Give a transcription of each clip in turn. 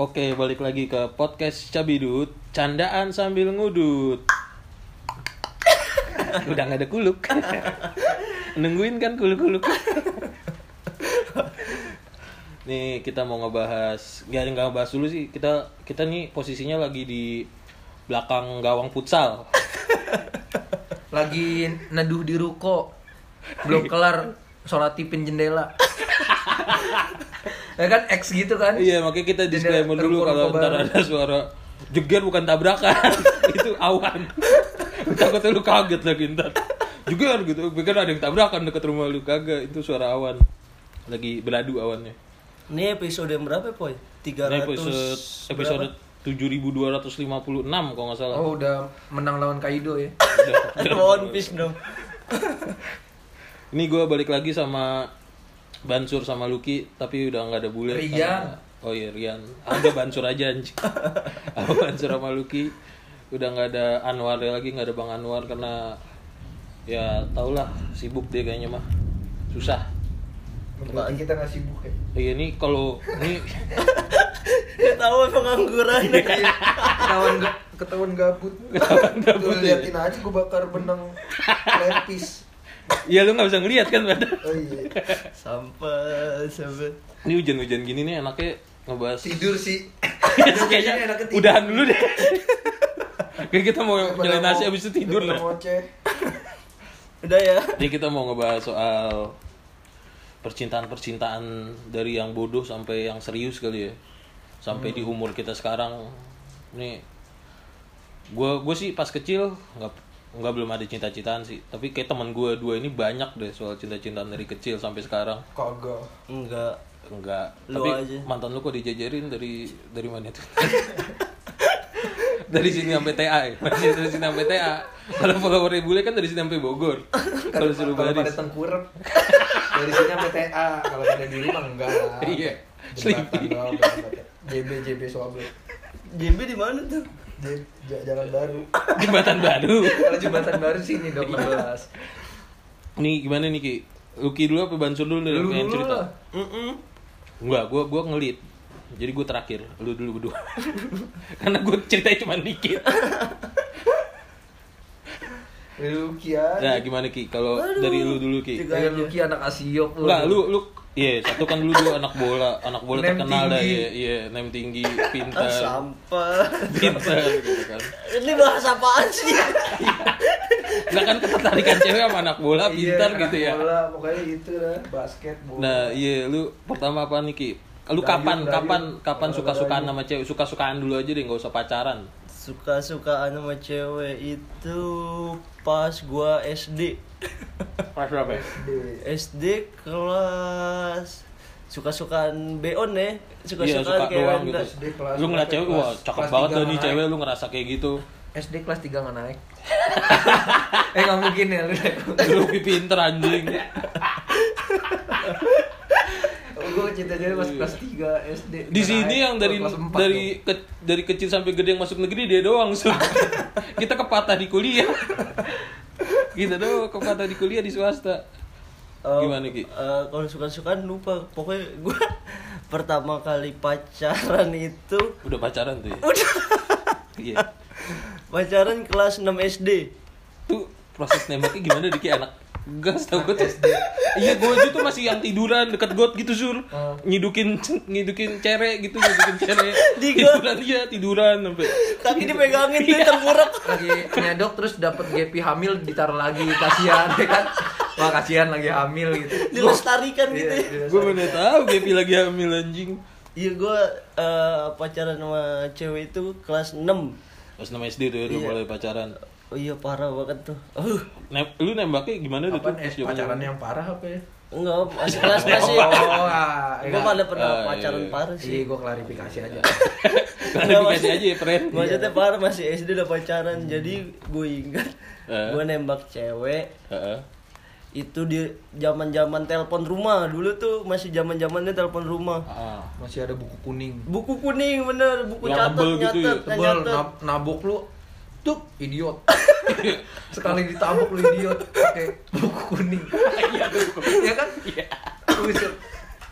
Oke, balik lagi ke podcast Cabidut, candaan sambil ngudut. Udah nggak ada kuluk. Nungguin kan kuluk-kuluk. nih kita mau ngebahas, nggak nggak ngebahas dulu sih. Kita kita nih posisinya lagi di belakang gawang futsal. lagi neduh di ruko belum kelar sholat tipin jendela ya kan X gitu kan Iya, makanya kita Jadi disclaimer dulu kalau ruko-ruko ntar baru. ada suara jeger bukan tabrakan. itu awan. Takutnya lu kaget lagi ntar. Jeger gitu, pikir ada yang tabrakan deket rumah lu kagak, itu suara awan. Lagi beladu awannya. Ini episode yang berapa, Poy? 300 Nah, episode episode 7256 kalau nggak salah. oh udah menang lawan Kaido ya berapa? One Piece dong. Ini gua balik lagi sama Bansur sama Lucky, tapi udah nggak ada bule. Rian. Karena- oh iya Rian. Ada Bansur aja anjing. Sama Bansur sama Lucky udah nggak ada Anwar lagi, nggak ada Bang Anwar karena ya taulah sibuk dia kayaknya mah. Susah. berarti kita nggak sibuk ya Iya ini kalau ini Ya tahu pengangguran. Iya. ketahuan ga- ketahuan gabut Ketahuan gabut, Lu liatin aja gue bakar benang lempis ya lu nggak bisa ngeliat kan padahal. oh, iya. sampai sampai. Ini hujan-hujan gini nih enaknya ngebahas tidur sih Iya, kayaknya Iya, enaknya tidur. udahan dulu deh. Kayak kita mau Daripada nyalain nasi mau- abis itu tidur daripada lah. ngoceh. Udah ya. Jadi kita mau ngebahas soal percintaan-percintaan dari yang bodoh sampai yang serius kali ya. Sampai di umur kita sekarang nih gua gue sih pas kecil nggak nggak belum ada cinta-cintaan sih tapi kayak teman gua dua ini banyak deh soal cinta-cintaan dari kecil sampai sekarang kagak Enggak. enggak Lu tapi aja. mantan lu kok dijajarin dari dari mana tuh dari sini sampai TA ya? Masih dari sini sampai TA kalau follower bule kan dari sini sampai Bogor kalau suruh Kan Kalau pada baris tengkurep dari sini sampai TA kalau pada di rumah enggak lah Iya. jembatan Sleepy. doang berangkat. JB JB Sobe JB di mana tuh? J- J- jalan baru jembatan baru kalau jembatan baru sini Iya. 12 nih gimana nih Ki Luki dulu apa Bansur dulu nih Lu yang dulu cerita lah. Mm-mm. enggak gua gua ngelit jadi gue terakhir lu dulu berdua karena gue ceritanya cuma dikit lu Kia nah gimana Ki kalau Aduh. dari lu dulu Ki Tiga aja. lu Kia ya. anak Asiop Enggak, Iya, lu lu iya, satu kan lu dulu anak bola, anak bola Name terkenal dah tinggi. ya, iya, name tinggi, Ah, pintar, sampai. pintar gitu kan. Ini bahas apaan sih? Nah kan ketertarikan cewek sama anak bola pintar Iya, gitu ya. bola pokoknya itu lah basket bola Nah, iya lu pertama apa nih Ki? Lu Dayung, kapan dayung. kapan kapan Olahraga suka-sukaan dayung. sama cewek? Suka-sukaan dulu aja deh, nggak usah pacaran. Suka-sukaan sama cewek itu pas gua SD. Pas berapa? Di- SD kelas suka-sukaan beon Iya, ya suka-sukaan suka kayak doang enggak. gitu. SD kelas Lu ngeliat berapa? cewek, wah, Kelas- cakep kelas banget tiga tuh nih naik. cewek, lu ngerasa kayak gitu. SD kelas 3 nggak naik eh nggak mungkin ya lu Lu pinter anjing. Iya, gue cinta jadi pas kelas 3 SD Iya. Di sini yang dari dari ke- dari kecil sampai gede yang masuk negeri dia doang. Su. Kita kepatah di kuliah. Kita doang kepatah di kuliah di swasta. Eh, Gimana, Ki? eh, kalau suka-sukaan lupa pokoknya gua pertama kali pacaran itu Udah pacaran tuh ya? udah Iya. pacaran kelas 6 SD Tuh proses nembaknya gimana Diki anak? Gas tau gue tuh. Iya gue aja tuh masih yang tiduran deket got gitu sur. Hmm. Nyidukin nyidukin cere gitu, nyidukin cere. Di got. Tiduran iya, tiduran sampai. kaki Iya. dipegangin tuh tengkurap lagi nyadok terus dapat GP hamil ditaruh lagi kasihan ya kan wah kasihan lagi hamil gitu dilestarikan gitu ya Iya, Gue mana tahu Gepi lagi hamil anjing. iya gua eh, pacaran sama cewek itu kelas 6 Pas nama SD tuh ya, udah Iya. mulai pacaran. oh iya parah banget tuh uh, Nem- lu nembaknya gimana tuh Apaan, tuh? eh, pas zaman- pacaran yang parah apa ya enggak masih kelas masih oh ah, Iya gua mana pernah Ah, iya, pacaran iya. parah sih sih gue klarifikasi aja Klarifikasi aja ya, friend. Maksudnya parah masih SD udah pacaran. Jadi gue ingat Eh. gue nembak cewek Heeh. itu di zaman-zaman telepon rumah. Dulu tuh masih zaman-zamannya telepon rumah. Ah. masih ada buku kuning Buku kuning bener, buku Yang catat tebel gitu nyatet, ya, nah, tebal nyatet. nab- nabok lu tuh idiot sekali ditabok lu idiot pakai buku kuning Iya tuh. ya kan Buset.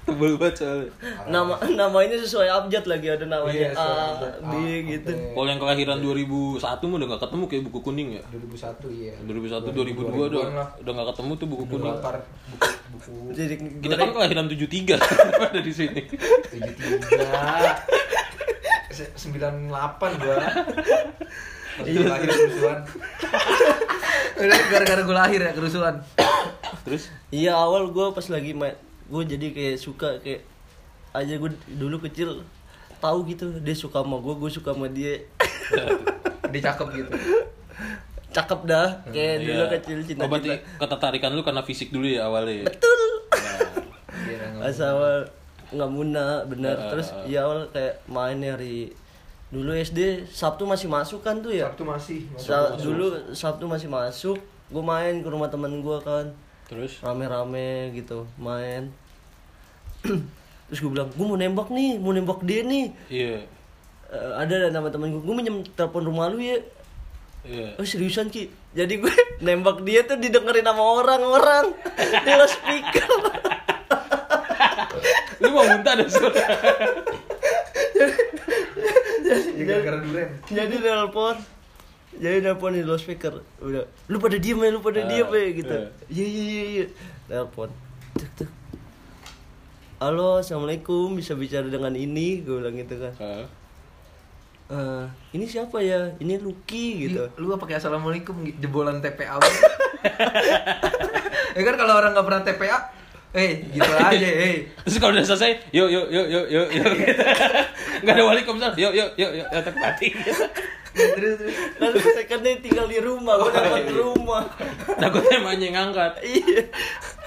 tebel banget soalnya Nama namanya sesuai abjad lagi ada namanya Iya, sesuai A, abjad. B A, Ah, gitu. sampai- kalau yang kelahiran 2001 mah udah gak ketemu kayak buku kuning ya 2001 iya 2001 2002 udah udah gak ketemu tuh buku kuning lapar buku, buku Jadi kita kan kelahiran 73 ada di sini 73 Se- 98 gua Iya, lahir kerusuhan. Udah gara-gara gue lahir ya kerusuhan. terus Iya awal gue pas lagi main gue jadi kayak suka kayak aja gue dulu kecil tahu gitu dia suka sama gue gue suka sama dia Dia cakep gitu. cakep dah kayak Eh, dulu Iya. kecil cinta Oh, berarti ketertarikan lu karena fisik dulu ya awalnya ya? betul Iya, nggak- pas awal nggak muna bener terus ya awal kayak main nyari dulu SD Sabtu masih masuk iya. kan tuh ya Sabtu masih masih. Sa- dulu Sabtu masih masuk gue main ke rumah temen gue kan terus rame-rame gitu main terus gue bilang gue mau nembak nih mau nembak dia nih iya Eh, ada nama temen gue gue minjem telepon rumah lu ya iya oh seriusan ki jadi gue nembak dia tuh didengerin sama orang-orang di speaker lu mau muntah ada suara Iya, gara-gara duren. jadi nelpon jadi nelpon di loudspeaker udah lu pada diem ya lu pada Ah, diem ya gitu iya. iya iya iya iya nelpon tuk tuk halo assalamualaikum bisa bicara dengan ini gue bilang gitu kan Hah? "Eh, ini siapa ya ini Lucky gitu Iya. Ih, Lu gak pakai assalamualaikum jebolan TPA. ya kan kalau orang nggak pernah TPA, eh gitu aja, eh. Terus kalau udah selesai, yuk yuk yuk yuk yuk yuk. Enggak ada wali komisar. Yuk yuk yuk yuk otak mati. Terus terus lalu saya kan dia tinggal di rumah gue dapat Oh, iya. rumah Takutnya emangnya ngangkat. iya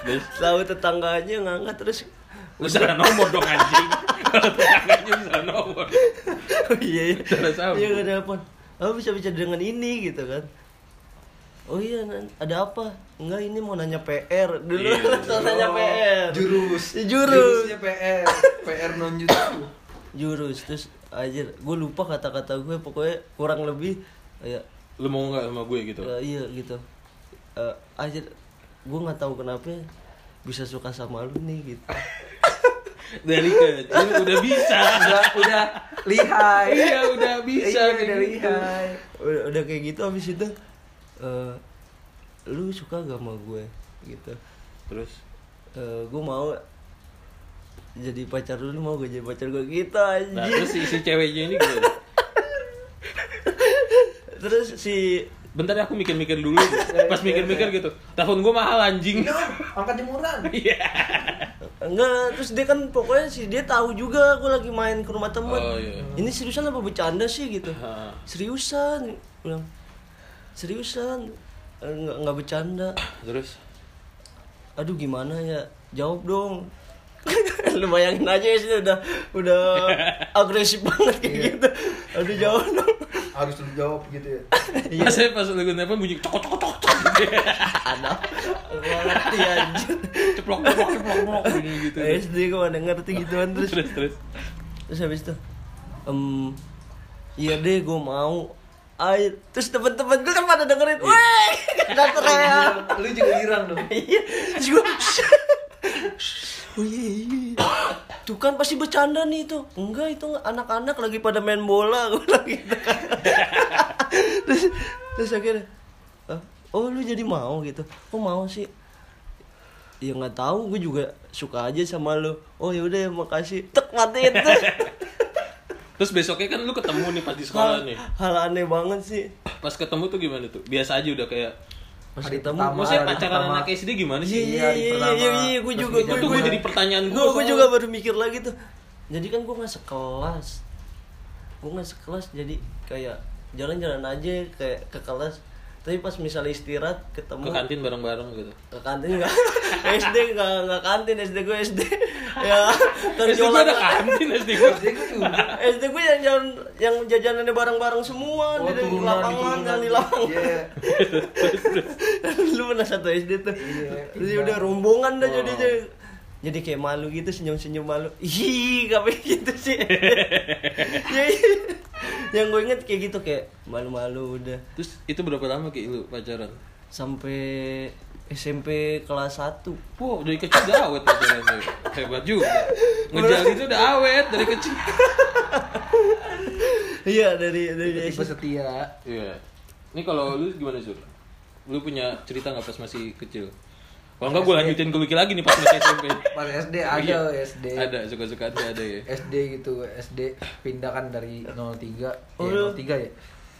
Terus tahu tetangganya ngangkat terus lu salah nomor dong anjing. Kalau tetangganya lu salah nomor. oh iya iya Cara sambung. iya gak telepon oh bisa bicara dengan ini gitu kan oh iya Nan. ada apa enggak ini mau nanya PR dulu Iya. langsung nanya PR Jurus. Iya, Jurus. Jurusnya PR. PR non jutsu. jurus terus aja gue lupa kata-kata gue pokoknya kurang lebih ya Lu mau enggak sama gue gitu? ya, iya gitu Eh aja gue nggak tahu kenapa ya bisa suka sama lu nih gitu Dari kecil udah bisa. udah udah lihai. Iya, udah bisa Iya, kayak udah gitu. lihai. udah, udah kayak gitu habis itu eh lu suka gak sama gue gitu Terus Eh gue mau jadi pacar lu, lu mau gak jadi pacar gue gitu aja Nah, terus si, si ceweknya ini gitu. terus si Bentar ya aku mikir-mikir dulu. Pas mikir-mikir gitu. Telepon gue mahal anjing. Minum, angkat jemuran. Iya. enggak terus dia kan pokoknya si dia tahu juga gue lagi main ke rumah temen Oh, iya. ini seriusan apa bercanda sih gitu Ha. seriusan bilang seriusan Eh, nggak nggak bercanda Terus aduh gimana ya jawab dong lu bayangin aja ya sih udah udah agresif banget kayak Iya. gitu aduh jawab dong Harus lu jawab gitu ya. Iya. pas saya pas lagu telepon bunyi cokot cokot cokot cokot. ada nggak ngerti anjir ceplok ceplok ceplok ceplok bunyi gitu. SD gue mana ngerti gituan terus Terus terus. terus habis itu em iya deh gue mau air terus teman-teman gue kan pada dengerin Iya. weh ya. kata teriak Lu juga girang dong. iya terus gue oh iya, iya, iya. tuh kan pasti bercanda nih itu enggak itu anak-anak lagi pada main bola gue bilang gitu kan terus terus akhirnya "Eh, oh lu jadi mau gitu kok mau sih ya nggak tahu gue juga suka aja sama lu oh ya udah ya makasih tek mati itu Terus besoknya kan lu ketemu nih pas di sekolah Nah. nih. hal aneh banget sih Pas ketemu tuh gimana tuh? Biasa aja udah kayak "Hmm, pas Hari ketemu pertama, Maksudnya hari pacaran pertama. anak SD gimana Iya sih? iya hari iya pertama, iya iya gue terus juga meja gue Itu gue jadi pertanyaan gue. gue juga baru mikir lagi tuh. Jadi kan gue nggak sekelas, gue nggak sekelas jadi kayak jalan-jalan aja kayak ke kelas. Tapi pas misalnya istirahat ketemu ke kantin bareng-bareng gitu. ke kantin nggak SD nggak nggak kantin SD gue SD ya SD gue kerjolan ada kantin SD gue. SD gue yang jalan yang jajanannya bareng-bareng semua Oh, di di Oh, lapangan yang di lapangan Iya. lu pernah satu SD tuh Iya, terus iya. udah rombongan dah Oh. jadi jadi jadi kayak malu gitu senyum senyum malu ih kayak gitu sih Ya, iya. yang gue inget kayak gitu kayak malu malu udah Terus itu berapa lama kayak lu pacaran? sampai SMP kelas 1 Wow, dari kecil udah awet pacaran lu. Hebat juga. Ngejalin itu udah awet dari kecil. Iya dari dari tipe SMP. setia Iya. Ini kalau lu gimana sur? Lu punya cerita nggak pas masih kecil? Kalau nggak gue lanjutin ke Lucky lagi nih pas masih SMP. Iya. pas SD ada loh SD Ada suka-suka ada, ada ya. SD gitu SD pindah kan dari 03 Oh, ya lu- 03 ya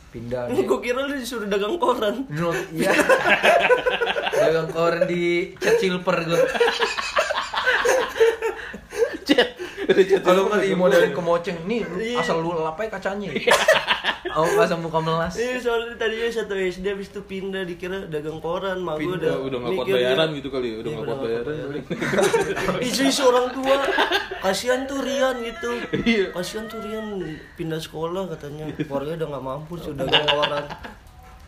pindah Iya. di Gue kira lu disuruh dagang koran nol iya dagang koran di cat silver gue kalau nggak dimodalin ke moceng nih lu- Iya. asal lu lap aja kacanya oh nggak sama muka Hmm. melas Iya soalnya tadinya satu SD habis itu pindah dikira dagang koran mah gue Pindah, udah udah nggak kuat mikir, bayaran iya. gitu kali ya, udah Iya, nggak kuat bayaran. Isu-isu orang tua kasihan tuh Rian gitu Iya. kasihan tuh Rian pindah sekolah katanya keluarga udah nggak mampu sudah dagang koran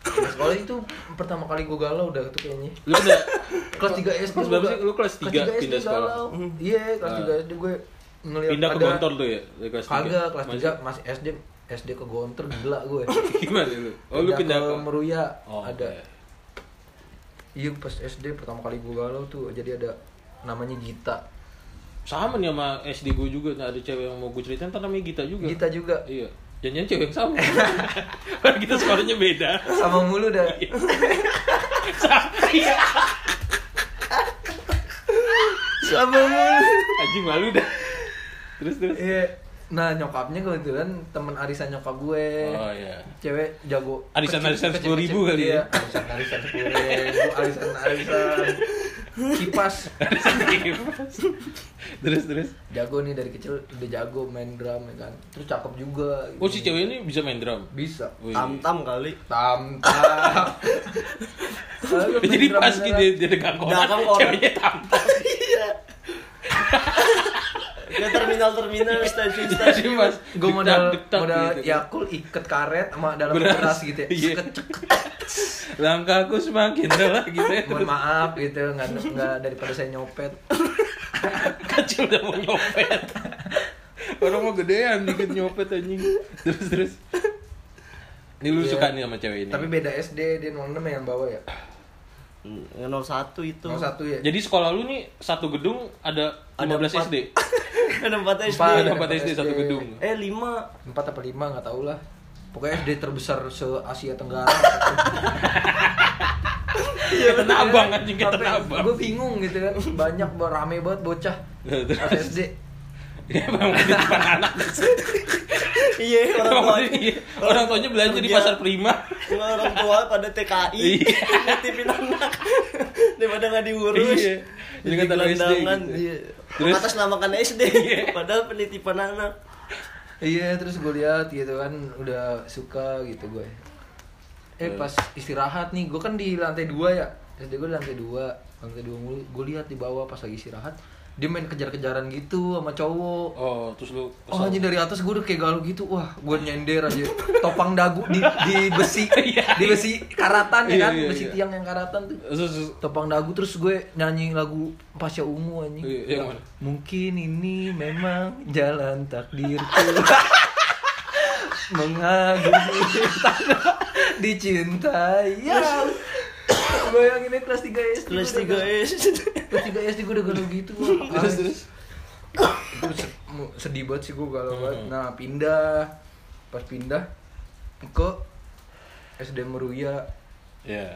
Di sekolah itu pertama kali gue galau udah tuh kayaknya Lu udah kelas 3 SD Kelas berapa gua- sih? Lu kelas tiga tiga pindah SD sekolah? galau. iya kelas Ah. 3 SD gue ngeliat pindah ke ada- Gontor tuh ya dari kelas tiga? kagak kelas Masih- 3 masih SD SD ke Gontor gila gue Gimana lu? Oh lu pindah ke ke Meruya Oh, ada iya. Iya pas SD pertama kali gue galau tuh jadi ada namanya Gita. sama nih sama SD gue juga nah, ada cewek yang mau gue ceritain ntar namanya Gita juga Gita juga iya jangan cewek yang sama Padahal kita sekolahnya beda sama mulu dah. Iya. Sama. Iya. sama mulu anjing malu dah terus terus Iya. Nah nyokapnya kebetulan temen arisan nyokap gue. oh iya Cewek jago. Arisan-arisan kecil- 10.000 kecil- kali iya. ya. Arisan arisan sepuluh ribu, arisan arisan kipas. terus terus Jago nih dari kecil udah jago main drum ya kan. Terus cakep juga. oh si cewek ini bisa main drum bisa. Wih. tam tam kali Tam tam. jadi pas gitu dia dia dekat Dagang koran. koran ceweknya tampar ke terminal terminal stasiun jadi Iya, stasiun mas gue modal diktak-diktak modal gitu. yakul ikat karet sama dalam Beras. beras gitu ya Iya. Seket, cek. langkahku semakin lelah gitu mohon maaf gitu nggak nggak daripada saya nyopet kecil udah mau nyopet orang mau gedean dikit nyopet anjing terus terus ini lu Iya. suka nih sama cewek ini tapi beda SD dia 06 yang bawa ya Iya. yang 01 itu nomor satu ya jadi sekolah lu nih satu gedung ada Ada 15 empat. SD ada empat SD Empat. ada 4 SD satu SD. gedung eh lima empat apa lima nggak tau lah pokoknya SD terbesar se Asia Tenggara Iya, kita nabang anjing kita nabang gue bingung gitu kan banyak ba- rame banget bocah pas SD Dia Nah, Iya, memang di depan anak iya orang Emang tua dia- Oh, orang tuanya belanja di Kerja. pasar prima Semua orang tua pada TKI Iya. nitipin anak daripada nggak diurus Iya. Jadi kata lu SD gelandangan, gitu. iya. Terus? Iya. atas namakan SD padahal penitipan anak iya terus gue lihat gitu kan udah suka gitu gue eh pas istirahat nih gue kan di lantai dua ya SD gue di lantai dua lantai dua mulu gue lihat di bawah pas lagi istirahat dia main kejar-kejaran gitu sama cowok oh terus lu Oh anjing dari atas gue udah kayak galau gitu Wah gue nyender aja Topang dagu di, di besi Di besi karatan Iya, ya kan iya, Besi iya. tiang yang karatan tuh Terus- terus- Topang dagu terus gue nyanyi lagu Pasya Ungu anjing Iya, yang mana? Mungkin ini memang jalan takdirku Mengagumi tanah dicintai ya. Bayangin ya, kelas 3 Iya. SD kelas udah 3 galau. SD Kelas 3 SD gue udah galau gitu wah. terus terus Itu se- mu- sedih banget sih gue galau banget Hmm. nah pindah pas pindah ke SD Meruya ya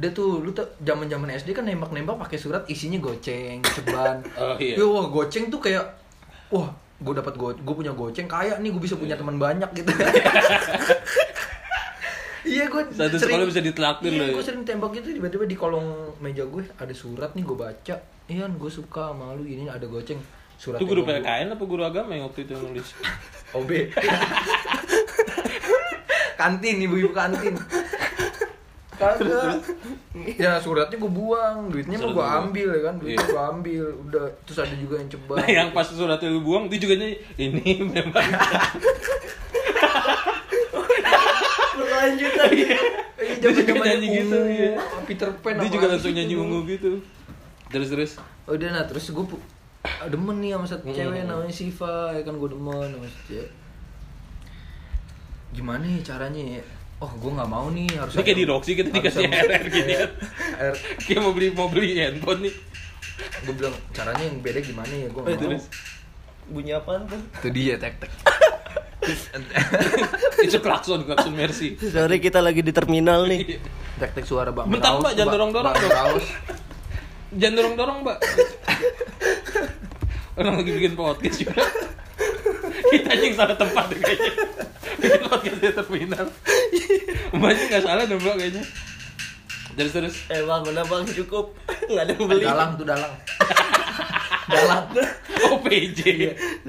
udah tuh lu tuh zaman zaman SD kan nembak nembak pakai surat isinya goceng ceban Oh, iya. Ya, wah goceng tuh kayak wah gue dapat go gue punya goceng kaya nih gue bisa punya teman banyak gitu Iya gue Satu sekolah bisa ditraktir iya, loh ya. gue sering tembak gitu tiba-tiba di kolong meja gue ada surat nih gue baca Ian gue suka sama lu ini ada goceng surat itu guru yang gua- PKN apa guru agama yang waktu itu yang nulis OB kantin ibu-ibu kantin kagak ya suratnya gue buang duitnya mah Surat gue lu buang. ambil ya kan duitnya Iya. gue ambil udah terus ada juga yang ceban Nah, yang pas surat lu buang itu juga nyanyi, ini memang berlanjutan eh, Dia juga jaman-jamannya nyanyi gitu, ungu, iya. Peter Pan dia apa juga lagi langsung gitu nyanyi dulu. ungu gitu. Terus terus. udah nah terus gue demen nih sama satu Mm. cewek namanya Siva ya kan gue demen sama satu cewek gimana ya caranya ya oh gue nggak mau nih harus Iya. Ini kayak di Roxy kita dikasih RR gini ya. RR. Kayak mau beli mau beli handphone nih. gue bilang caranya yang beda gimana ya Oh, gue Eh, nggak mau terus bunyi apaan tuh? itu dia tek tek Itu klakson klakson Mercy. Sorry kita lagi di terminal nih. Iya. tek tek suara bang Bentar, Raus, Mbak, jangan Bang- dorong-dorong, Bang dong. Raus. Jangan dorong dorong mbak. Orang lagi bikin podcast juga. Kita aja yang salah tempat deh kayaknya. Bikin podcast di terminal. Mbaknya nggak salah deh mbak kayaknya. Terus terus. Eh bang, mana bang cukup? Nggak ada yang beli. dalang tuh dalang dalang Oh, OPJ. Iya. Eh,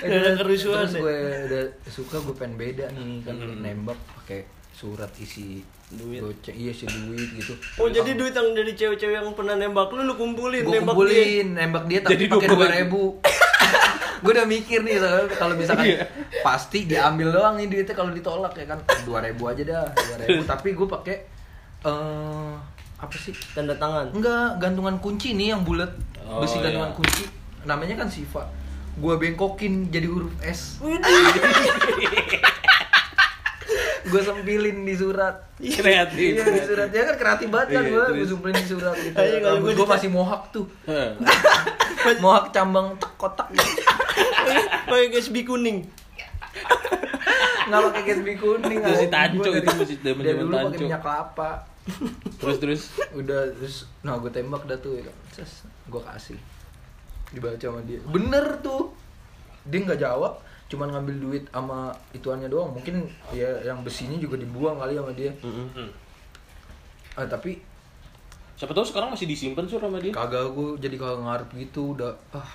Nggak ada gua- kerusuhan terus deh. Hmm. gue udah suka gue pengen beda nih kan nembak pakai surat isi Duit. goceng iya sih duit gitu Oh jadi duit yang dari cewek-cewek yang pernah nembak lu lu kumpulin, gue nembak dia. kumpulin nembak dia tapi Jadi pakai dua dua ribu. ribu gue udah mikir nih soalnya kalau misalkan Iya. pasti diambil doang nih duitnya kalau ditolak ya kan dua ribu aja dah dua ribu tapi gue pakai eh apa sih Tanda tangan. enggak gantungan kunci nih yang bulat Oh, besi gantungan iya. kunci namanya kan Siva gue bengkokin jadi huruf S gue sempilin di surat Kreatif. Iya di surat ya kan kreatif banget kan Iya, gue terus. gue sempilin di surat gitu. Ayo, kalau gua gue dicat- masih mohak tuh Heeh. mohak cambang tek kotak Pakai gasbi kuning. nggak pakai gasbi kuning Itu si anjing. Tanco, Gua itu dari- masih zaman dari zaman dulu pakai Tanco. minyak kelapa Terus terus. udah terus nah gue tembak dah tuh ya kan terus gue kasih dibaca sama dia bener tuh dia nggak jawab cuman ngambil duit sama ituannya doang mungkin ya yang besinya juga dibuang kali sama dia Mm-mm. ah, tapi Siapa tahu sekarang masih disimpan sur sama dia. kagak gue jadi kagak ngarep gitu udah ah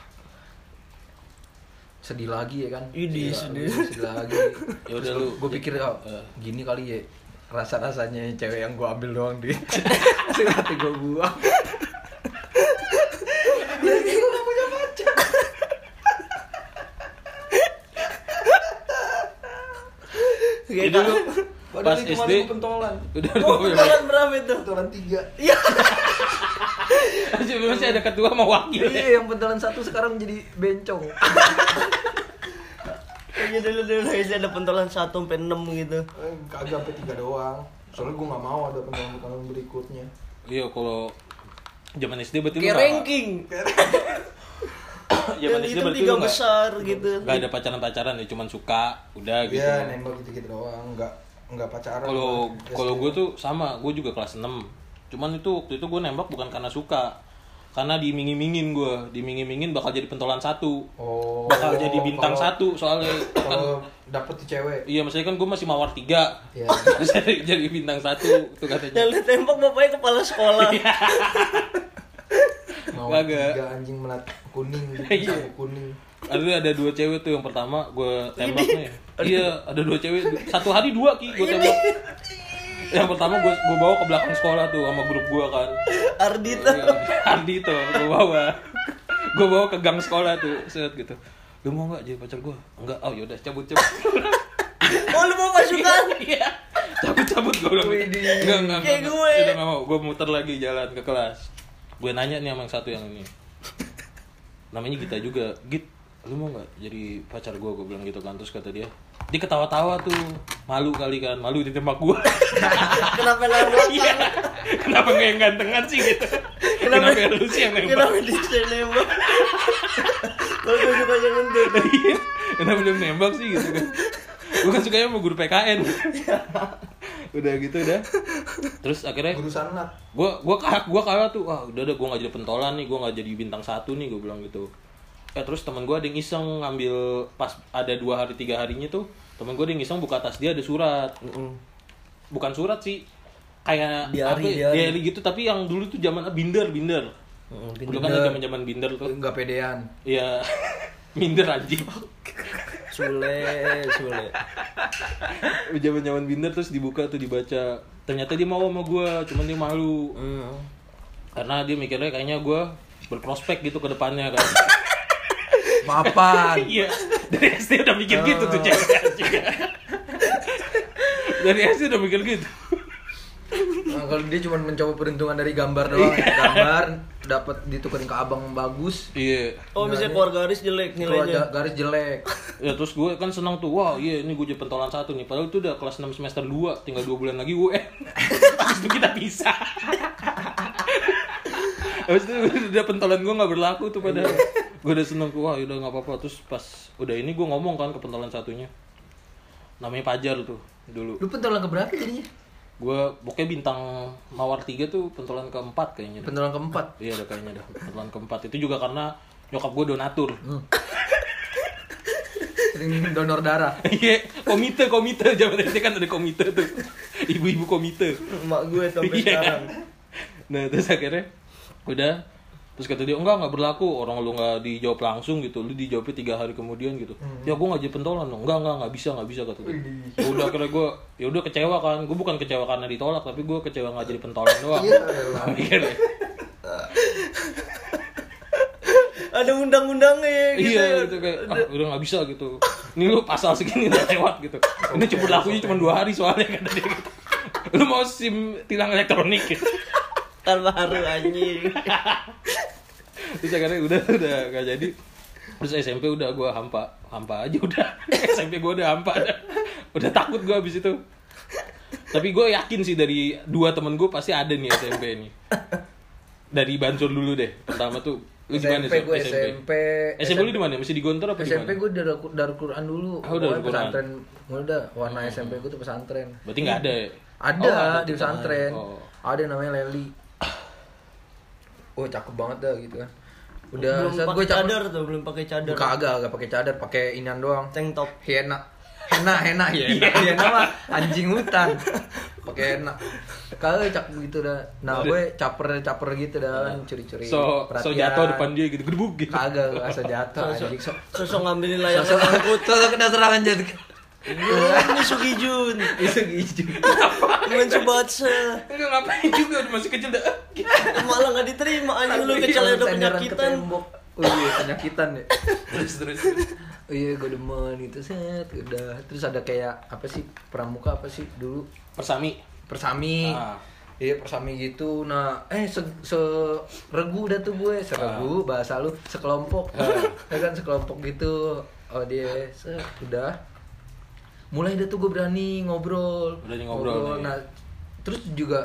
sedih lagi ya kan Idih, sedih, lagi, sedih lagi Ya udah lu- gue pikir oh, Eh. gini kali ya rasa rasanya cewek yang gue ambil doang duit nanti gue buang jadi gue gak punya pacar Ya dulu pas Padahal SD. itu malah gua pentolan Udah Oh, dua beneran berapa itu? pentolan tiga Masih masih ada ketua sama wakilnya. iya yang pentolan satu sekarang jadi bencong Iya dulu dulu saya ada pentolan 1 sampai 6 gitu. Eh, kagak sampai tiga doang soalnya gue gak mau ada pentolan pentolan berikutnya Iya kalau zaman SD berarti lu Kayak nggak- ranking. Zaman Dan SD itu Iya, Ya, berarti tiga lu nggak- Iya. besar gitu. nggak ada pacaran-pacaran ya, cuman suka, udah gitu. Iya, nembak gitu-gitu doang, nggak nggak pacaran. Kalau Nggak kalau SD. gue tuh sama, gue juga kelas 6 Cuman itu waktu itu gue nembak bukan karena suka, karena diiming-imingin gue, diiming-imingin bakal jadi pentolan satu, oh, bakal jadi bintang kalau- satu soalnya. kan, Kalau dapet tuh cewek. iya, maksudnya kan gue masih mawar tiga, Iya. Terus jadi, jadi bintang satu tuh Yang katanya. lu tembak bapaknya kepala sekolah. Iya. Mau Kagak. tiga anjing melat kuning, Iya. gitu, kuning. Ada ada dua cewek tuh yang pertama gue tembak nih. Iya, ada dua cewek, satu hari dua ki gue tembak. Yang pertama gue gue bawa ke belakang sekolah tuh sama grup gue kan. Ardita. iya, Ardi tuh gue bawa gue bawa ke gang sekolah tuh set gitu lu mau nggak jadi pacar gue enggak oh yaudah cabut cabut Oh lu mau pasukan? iya cabut cabut gue bilang gitu. enggak enggak Kayak enggak gue. udah nggak mau gue muter lagi jalan ke kelas gue nanya nih sama yang satu yang ini namanya Gita juga Git lu mau nggak jadi pacar gue gue bilang gitu kan terus kata dia dia ketawa-tawa tuh malu kali kan malu ditembak gue Kenapa yang iya belakang? kenapa nggak yang gantengan sih gitu kenapa, yang lu sih yang nembak Kenapa di sini bang? Kalau gue juga jangan tuh. Iya, kenapa dia nembak sih gitu kan gue kan sukanya sama guru PKN Iya. udah gitu udah terus akhirnya Guru sanat. gue gue kalah gue kalah tuh wah udah udah gue nggak jadi pentolan nih gue nggak jadi bintang satu nih gue bilang gitu eh terus teman gue ada yang iseng ngambil pas ada dua hari tiga harinya tuh teman gue ada yang iseng buka tas dia ada surat bukan surat sih kayak Diari, apa ya, diari. diari gitu tapi yang dulu tuh zaman ah, binder binder dulu kan zaman zaman binder tuh Nggak pedean. Iya. Minder anjing. Sule, sule. Zaman-zaman minder terus dibuka tuh dibaca. Ternyata dia mau sama gua, cuman dia malu. Karena dia mikirnya kayaknya gua berprospek gitu ke depannya kan. Mapan. Iya. Dari SD udah mikir gitu tuh cewek juga. Dari SD udah mikir gitu. Nah, kalau dia cuma mencoba peruntungan dari gambar doang, gambar dapat ditukerin ke abang bagus Iya. Oh, misalnya keluarga Aris jelek keluar nilainya. garis jelek Ya terus gue kan senang tuh, wah iya ini gue jadi pentolan satu nih. Padahal itu udah kelas 6 semester 2, tinggal 2 bulan lagi UN. Habis itu kita bisa. Habis itu udah pentolan gue gak berlaku tuh padahal. gue udah seneng tuh, wah ya udah gak apa-apa. Terus pas udah ini gue ngomong kan ke pentolan satunya. Namanya Pajar tuh dulu. lu pentolan keberapa jadinya Gue pokoknya bintang mawar 3 tuh pentolan keempat kayaknya. dah. pentolan keempat Iya udah kayaknya dah pentolan keempat. Itu juga karena nyokap gue donatur. Sering donor darah Iya, komite, komite. Zaman SD kan ada komite tuh. Ibu-ibu komite. Emak gue sampai Iya. sekarang. Nah, terus akhirnya udah terus kata dia enggak enggak berlaku orang lu enggak dijawab langsung gitu lu dijawabnya tiga hari kemudian gitu Hmm. ya gue nggak jadi pentolan dong enggak enggak enggak bisa enggak bisa kata dia Ya udah akhirnya gue ya udah kecewa kan gue bukan kecewa karena ditolak tapi gue kecewa nggak jadi pentolan doang iya deh. Ada undang-undangnya ya, gitu. ya. iya gitu kayak ah, udah nggak bisa gitu ini lu pasal segini udah lewat gitu Oh, ini iya, cuma lakunya cuma dua hari soalnya kata dia gitu. lu mau sim tilang elektronik gitu. Tanpa haru anjing. terus akhirnya udah udah gak jadi terus SMP udah gua hampa hampa aja udah SMP gua udah hampa udah, udah takut gua abis itu tapi gue yakin sih dari dua temen gue pasti ada nih SMP nih dari Bansur dulu deh pertama tuh lu di mana SMP Sob? gue SMP SMP lu di mana masih di Gontor apa di mana SMP gue dari Darul Quran dulu. Ah, udah Darul Pokoknya Quran. pesantren. Mulai dah warna SMP gue tuh pesantren. berarti nggak ada ya? Ada, Oh, di pesantren. Oh. Ada yang namanya Leli. Oh, cakep banget dah gitu kan. Udah belum saat pakai gue cakep. cadar tuh, belum pakai cadar. Kagak, agak, agak pakai cadar, pakai inian doang. Tank top. Hiena. Hena, hena, ya, hena, hena mah anjing hutan. Pakai hena. Kagak cakep gitu dah. Nah, gue caper-caper gitu dah kan, curi-curi. so so perhatian. jatuh depan dia gitu gebuk gitu Kagak, gak asal jatuh anjing. So- Sosok ngambilin layar Sosok orang. angkut, sosok kena serangan jadi Iya, Ini Sugijun. Itu gitu. Main Subatsa. Enggak ngapain juga udah masih kecil dah. Malah nggak diterima Iya, anjing lu kecil udah penyakitan. Oh iya, penyakitan ya. terus terus. terus. Oh iya, gue demen gitu set, udah. Terus ada kayak apa sih pramuka apa sih dulu Persami. persami. Ah. Iya persami gitu, nah eh se, seregu dah tuh gue Ah. seregu bahasa lu sekelompok, ya kan sekelompok gitu, oh dia set, udah mulai dah tuh gue berani ngobrol, Berani ngobrol, iya. nah terus juga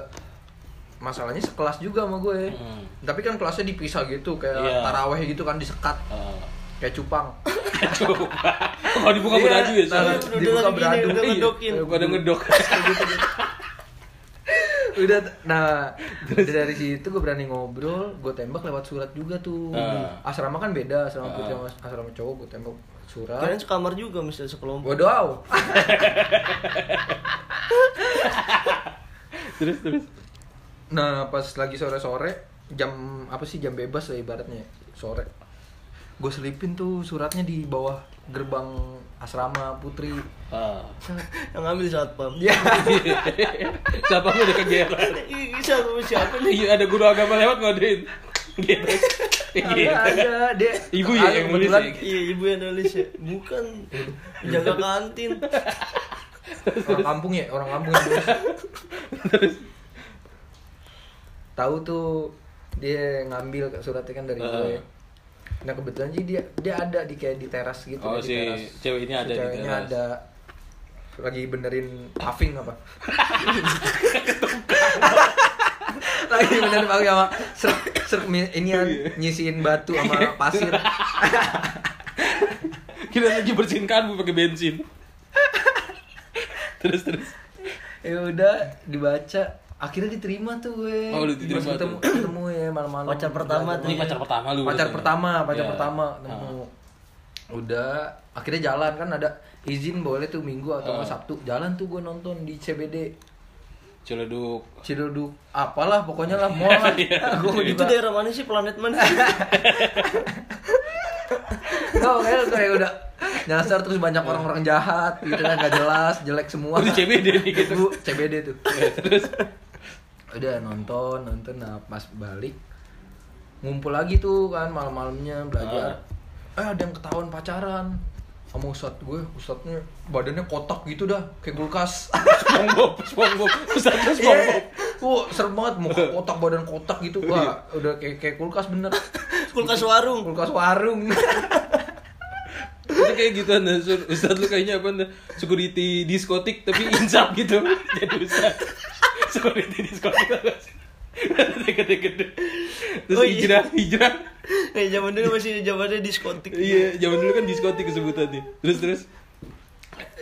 masalahnya sekelas juga sama gue, Hmm. tapi kan kelasnya dipisah gitu kayak Iya. taraweh gitu kan disekat Ah. kayak cupang, Coba. Kalau dibuka beradu ya. Iya, soalnya. nah, Udah dibuka lagi beradu. gini, udah Iya. ngedokin. Gua ada ngedok. udah t- nah udah dari situ gue berani ngobrol gue tembak lewat surat juga tuh Ah. asrama kan beda asrama putri sama asrama cowok gue tembak surat Kalian sekamar juga mesti sekelompok. Waduh, au. terus terus. nah pas lagi sore sore jam apa sih jam bebas lah ibaratnya sore gue selipin tuh suratnya di bawah gerbang asrama putri Ah. Yang ngambil satpam. Iya, ya Siapa lu udah kegeran? Ih, Siapa siapa nih? Iya ada guru agama lewat ngodein. Gitu. Iya. ada ada deh Ibu ya yang nulis ya? Iya, ibu yang nulis ya. Bukan jaga kantin. orang kampung ya orang kampung yang nulis. tahu tuh dia ngambil suratnya kan dari gue Heeh. nah kebetulan sih dia dia ada di kayak di teras gitu Oh, di si teras. cewek ini Si ada di ceweknya teras. ada lagi benerin paving apa lagi benerin paving sama ser, ser ini Iya. nyisiin batu sama pasir Kita lagi bersihin karbu pakai bensin. terus terus. ya udah dibaca akhirnya diterima tuh gue Oh, lu Pas diterima ketemu tuh. ketemu ya malam-malam Pacar pertama Udah, Ini pacar pertama lu. pacar berarti. pertama pacar Iya. pertama Ah. nemu udah akhirnya jalan kan ada izin boleh tuh minggu atau nggak Ah. sabtu jalan tuh gue nonton di CBD Ciledug. Ciledug apalah pokoknya lah mall lah Iya. gue Itu juga daerah mana sih? Planet mana? nggak kayak kayak udah nyasar terus banyak orang-orang jahat gitu kan nggak jelas jelek semua kan. Oh, di CBD nih, gitu. Bu, CBD tuh Ya, terus. udah nonton nonton nah pas balik ngumpul lagi tuh kan malam-malamnya belajar Ah. eh ada yang ketahuan pacaran sama ustad gue ustadnya badannya kotak gitu dah kayak kulkas SpongeBob, SpongeBob, Ustaz Iya, SpongeBob. Wah, serem banget muka kotak badan kotak gitu. Iya. Wah, udah kayak kayak kulkas bener. Kulkas warung. Kulkas warung. Itu kayak gitu nah, Sur. Ustaz lu kayaknya apa nah? Security diskotik tapi insap gitu. Jadi ustaz. Security diskotik. Gede-gede. Terus Oh, iya. hijrah, hijrah. Eh zaman dulu masih zamannya diskotik. Iya, zaman dulu kan diskotik kesebutannya. Terus terus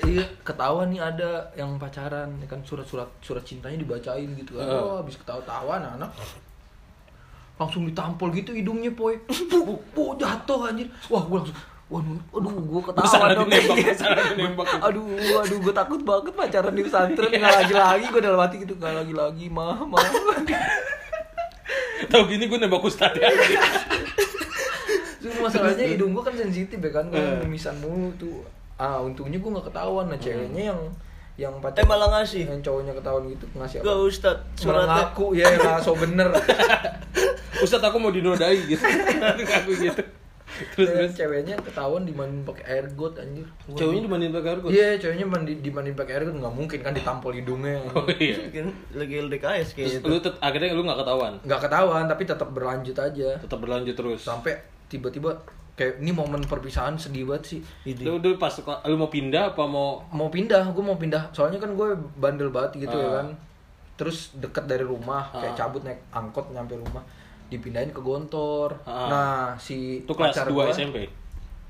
Iya, ketahuan nih ada yang pacaran, ya kan surat-surat surat cintanya dibacain gitu kan. Heeh. Wah, habis ketawa-tawa anak langsung ditampol gitu hidungnya poy. Puh, puh, jatuh anjir. Wah, gua langsung Waduh, aduh, gue Salah ketawa dong ditembak, kayaknya. salah ditembak. Aduh, aduh, gue takut banget pacaran di pesantren Iya. nggak lagi lagi gue dalam hati gitu nggak lagi lagi mah mah. tahu gini gue nembak ustaz ya. Terus masalahnya hidung gue kan sensitif ya kan, gue mimisan mulu tuh. Ah, untungnya gue nggak ketahuan nah ceweknya yang yang pacaran. Eh malah ngasih. yang cowoknya ketahuan gitu ngasih Gak apa? Ustad Malah suratnya. ngaku ya nggak so bener. Ustaz aku mau dinodai gitu. Aku gitu. Terus Dan terus ceweknya ketahuan dimandiin pakai air god anjir. Wah. cowoknya dimandiin pakai argot. Iya, ceweknya mandi dimandiin pakai air god nggak mungkin kan ditampol hidungnya. Oh iya. Mungkin lagi LDKS Terus kayaknya. tuh. lu tet- akhirnya lu nggak ketahuan. Nggak ketahuan tapi tetap berlanjut aja Tetap berlanjut terus. sampai tiba-tiba kayak ini momen perpisahan sedih banget sih. Lu udah pas lu mau pindah apa mau Mau pindah, gue mau pindah. Soalnya kan gue bandel banget gitu ya Ah. kan. Terus deket dari rumah, kayak cabut naik angkot nyampe rumah dipindahin ke Gontor. Ah. Nah, si itu kelas pacar 2 gua- SMP?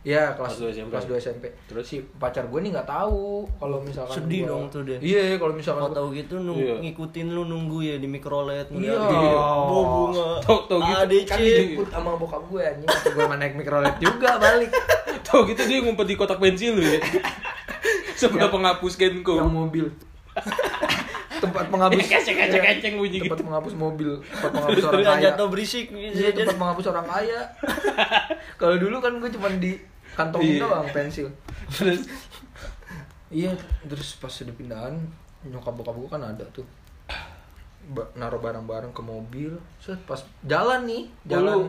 Iya Kelas kelas dua SMP. Kelas 2 SMP. Terus? Terus si pacar gue nih nggak tahu kalau misalkan Sedih gua- dong tuh dia. Iya kalau misalkan Kalau gua- tahu gitu nung- Iya. ngikutin lu nunggu ya di mikrolet gitu. Oh. Iya. Bawa bunga. Tahu- tahu gitu. ADC. kan dijemput sama bokap gue anjing gue naik mikrolet juga balik Tahu gitu dia ngumpet di kotak pensil lu ya. Sebelah penghapus Kenko. yang mobil tempat penghapus Keceng, keceng, iya, keceng bunyi tempat gitu. penghapus mobil tempat penghapus orang Nggak kaya jatuh berisik. iya tempat penghapus orang kaya kalau dulu kan gue cuma di kantongin Iya. doang pensil Terus Iya, terus pas udah pindahan nyokap bokap gue kan ada tuh Ba- naruh barang-barang ke mobil, set pas jalan nih, Oh, jalan lu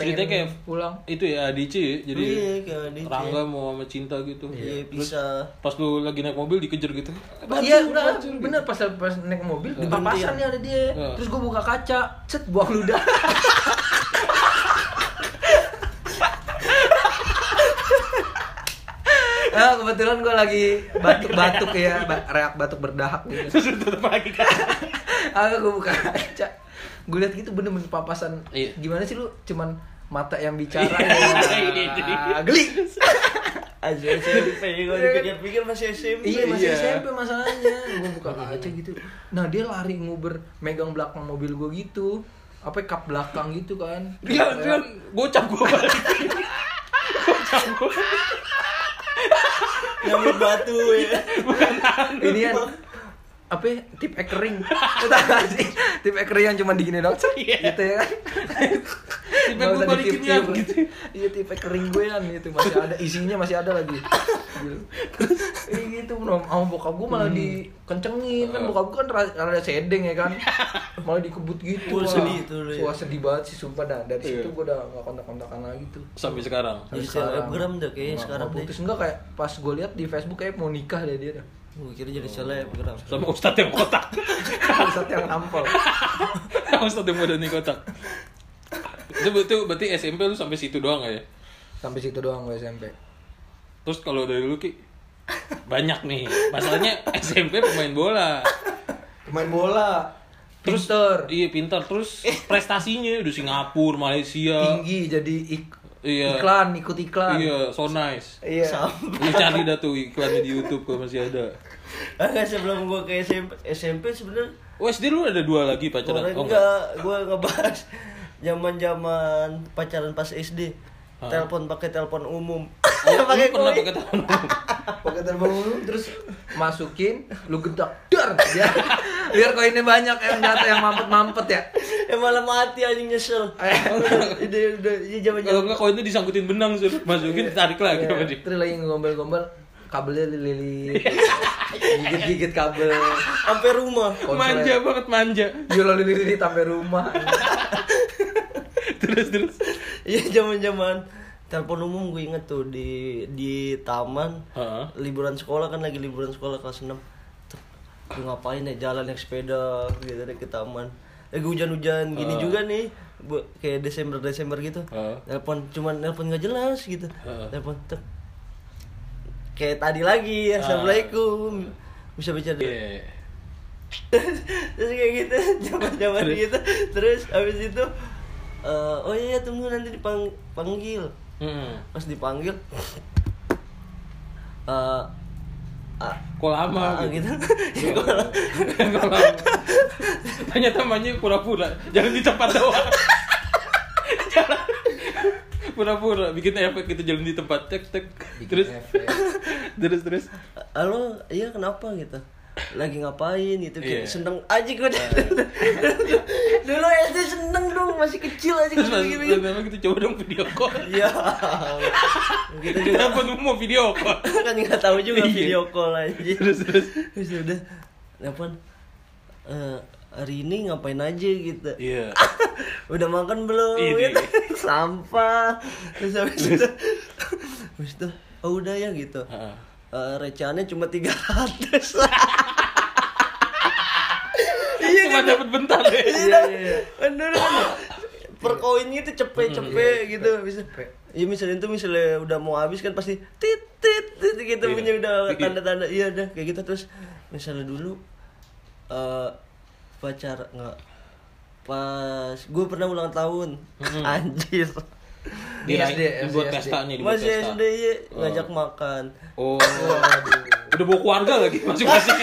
ceritanya pengen kayak- pulang. Oh, itu ya ADC ya. Jadi Iya, kayak ADC. Rangga mau sama cinta gitu. Iya, Terus bisa. Pas lu lagi naik mobil dikejar gitu. Iya, udah bener pas pas naik mobil di papasan nih ada dia. Heeh. Terus gue buka kaca, set buang ludah. Nah, kebetulan gue lagi batuk-batuk ya, ba- reak batuk berdahak gitu. Terus lu tutup lagi kan. Aku gue buka kaca. Gue lihat gitu bener-bener papasan. Iya. Gimana sih lu cuman mata yang bicara Iya, jadi. ya. Geli. Aja Kalau dipikir-pikir masih SMP. Iya masih Iya. SMP masalahnya. Gue buka kaca gitu. Nah dia lari nguber megang belakang mobil gue gitu. Apa kap belakang gitu kan. Rian, Rian, gocap gua balik. Nyambut batu ya. Iya. Ini kan apa ya, tip ekering Tau gak sih tip ekering yang cuma digini doang set, Iya. gitu ya kan Tip Gak gue usah balikin, ditip-tip. Yan, gitu. iya tip ekering gue yang gitu masih ada isinya masih ada lagi Gila. Iya gitu bro sama bokap gue Hmm. malah dikencengin Eh. kan bokap gue kan ra- rada sedeng ya kan malah dikebut gitu Wah. Wah, sedih tuh lu ya. Wah, sedih banget sih sumpah dah dari Iya. situ gue udah gak kontak-kontakan lagi tuh Sampai sekarang. Jadi Sekarang. selebgram dah kayaknya Nggak- sekarang nggak deh. putus enggak kayak pas gue lihat di Facebook kayak mau nikah deh dia dah. Gue kira jadi Oh. selebgram. Sama ustadz yang kotak. Pusat yang nampol. Sama ustadz yang model nih kotak. Itu itu berarti SMP lu sampai situ doang ya? Sampai situ doang gue SMP. Terus kalau dari lu Ki banyak nih. Masalahnya SMP pemain bola. Main bola. Terus Iya pintar terus prestasinya udah Singapura, Malaysia. tinggi jadi ik- Iya. iklan ikut iklan. Iya, so nice. Iya. Lu cari dah tuh iklannya di YouTube kalau masih ada. Enggak Ah, sebelum gue ke SMP SMP sebenarnya Oh, SD lu ada dua lagi pacaran. orang Oh, enggak. enggak gue ngebahas zaman-zaman pacaran pas SD. Telepon pakai telepon umum. Oh, Pakai lu pernah koi. pakai tahun. Pakai terbang dulu terus masukin lu gedak dar biar, biar koinnya banyak yang jatuh yang mampet-mampet ya. Eh malah mati anjing nyesel. Udah udah iya, ya zaman Kalau enggak koinnya disangkutin benang, Sur. Masukin tarik lagi sama dia. Iya, Terus lagi ngombel-ngombel kabelnya lilit. Gigit-gigit kabel. sampai rumah. Manja banget manja. Yolo lilit sampai rumah. Terus terus. Iya zaman-zaman telepon umum gue inget tuh di di taman Heeh. liburan sekolah kan lagi liburan sekolah kelas 6 Lu ngapain ya jalan naik sepeda gitu deh ke taman lagi hujan-hujan gini juga nih bu, kayak Desember Desember gitu Heeh. telepon cuman telepon nggak jelas gitu Heeh. telepon tek. kayak tadi lagi assalamualaikum bisa bicara Ah. Iya. terus kayak gitu zaman zaman Terus? gitu terus habis itu eh, oh iya tunggu nanti dipanggil Mm-mm. pas dipanggil eh ah, Kok lama ah, gitu. gitu Ya, gua lah. Kok lama. Tanya temannya pura-pura. Jangan di tempat doang. Jangan. pura-pura bikin efek gitu jalan di tempat tek tek terus terus terus halo iya kenapa gitu lagi ngapain gitu kayak Iya. seneng aja gue dulu SD seneng dong masih kecil aja terus pas gitu gitu pas memang kita coba dong video call ya kita juga kita pun mau video call kan nggak tahu juga Iya. video call aja Terus, terus. terus ya udah telepon eh, hari ini ngapain aja gitu iya udah makan belum Ini. gitu. sampah terus habis itu habis itu oh udah ya gitu Heeh. Eh recehannya cuma 300 iya cuma dapat bentar deh iya bener kan per koin itu cepe cepe gitu bisa ya misalnya itu misalnya udah mau habis kan pasti tit tit tit gitu Iya. punya udah Iya. tanda tanda iya udah kayak gitu terus misalnya dulu eh pacar nggak pas gue pernah ulang tahun anjir di Di SD, buat SD. pesta nih dibuat masih pesta SD iya, ngajak makan oh udah bawa keluarga lagi masing-masing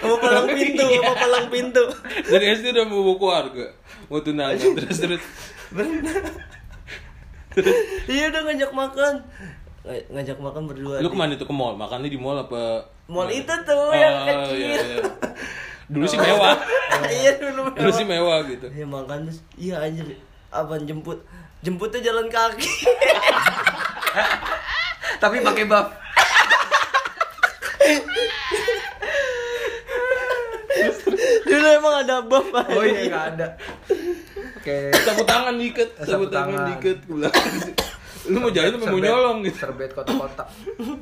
sama palang pintu sama palang pintu dari SD udah mau bawa keluarga mau tunangan terus terus iya udah ngajak makan Nga- ngajak makan berdua lu di- kemana tuh ke mall makannya di mall apa Mall Mana? itu tuh yang Oh, kecil. iya, iya. dulu sih mewah iya dulu dulu sih mewah gitu Iya makan terus iya anjir abang jemput jemputnya jalan kaki Tapi pakai buff. dulu emang ada buff Oh iya nggak ada. Oke. sapu tangan diikat sapu Sapu tangan tangan. diikat ke belakang lu mau jalan tapi mau Serbet- nyolong gitu Serbet kotak-kotak.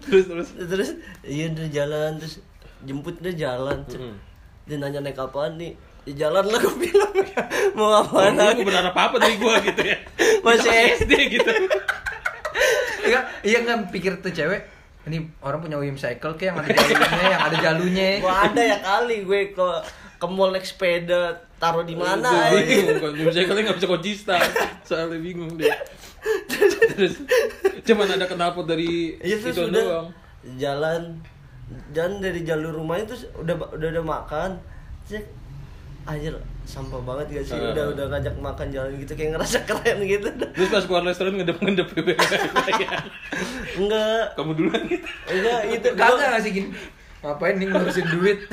terus terus terus iya udah jalan terus jemputnya jalan Mm-mm. dia nanya naik apaan nih ya jalan lah gue bilang mau Orang ngapain lu lagi mau berharap apa dari gua gitu ya Masih SD gitu Iya, iya kan pikir tuh cewek. Ini orang punya unicycle kayak yang ada jalurnya, yang ada jalurnya. gua ada ya kali gue ke ke mall naik sepeda taruh di mana Gua anjing. bingung kan misalnya kalian nggak bisa kunci stang soalnya bingung deh terus cuman ada knalpot dari Iya itu terus udah doang jalan jalan dari jalur rumahnya terus udah udah udah makan cek anjir sampah banget gak sih Eh. udah udah ngajak makan jalan gitu kayak ngerasa keren gitu terus pas keluar restoran ngedep ngedep enggak kamu duluan gitu enggak itu Kagak ngasih gini. Ngapain nih ngurusin duit?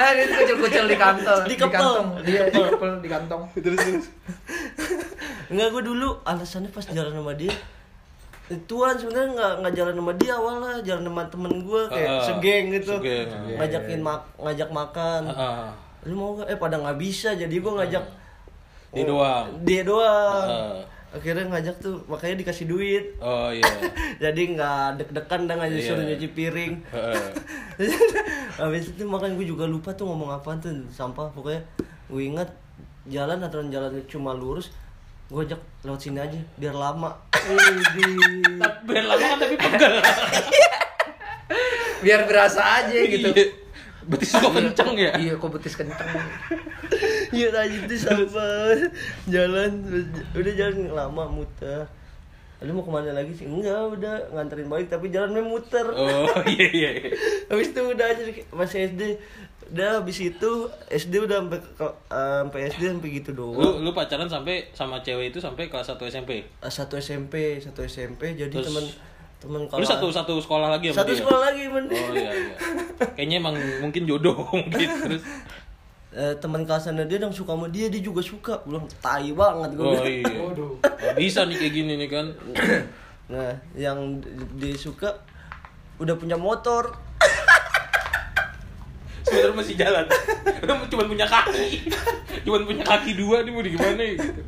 Ah, ini kecil-kecil di kantong, Di kepel. kantong. Iya, di kepel, di kantong. terus terus enggak gue dulu alasannya pas jalan sama dia Tuan sebenarnya nggak nggak jalan sama dia awalnya jalan sama temen gue kayak Ah, segeng gitu segeng. ngajakin mak ngajak makan Ah, lu mau gak? eh pada nggak bisa jadi gue ngajak Hmm. Oh, dia doang dia doang Heeh. akhirnya ngajak tuh makanya dikasih duit oh iya jadi nggak deg-degan dah ngajak Iya. suruh nyuci piring Heeh. habis itu makanya gue juga lupa tuh ngomong apa tuh sampah pokoknya gue ingat jalan aturan jalan cuma lurus gue ajak lewat sini aja biar lama Tapi- biar lama kan tapi pegel Biar berasa aja gitu. Iya. betis kok kenceng ya Iya, kok betis kenceng. iya tadi tuh sampah jalan udah jalan lama muter lu mau kemana lagi sih enggak udah nganterin balik tapi jalannya muter oh iya iya iya. habis itu udah aja masih SD udah habis itu SD udah sampai ke- ke- sampai SD sampai gitu doang lu lu pacaran sampai sama cewek itu sampai kelas 1 SMP Ah, satu SMP satu SMP jadi Terus- teman teman lu satu satu sekolah lagi sama satu dia? sekolah lagi men oh iya iya kayaknya emang mungkin jodoh mungkin terus Eh, teman kelasannya dia yang suka sama dia dia juga suka belum tai banget gue oh iya Nggak bisa nih kayak gini nih kan nah yang di- dia suka udah punya motor sebenarnya masih jalan udah cuma punya kaki cuma punya kaki dua nih mau di gimana ya gitu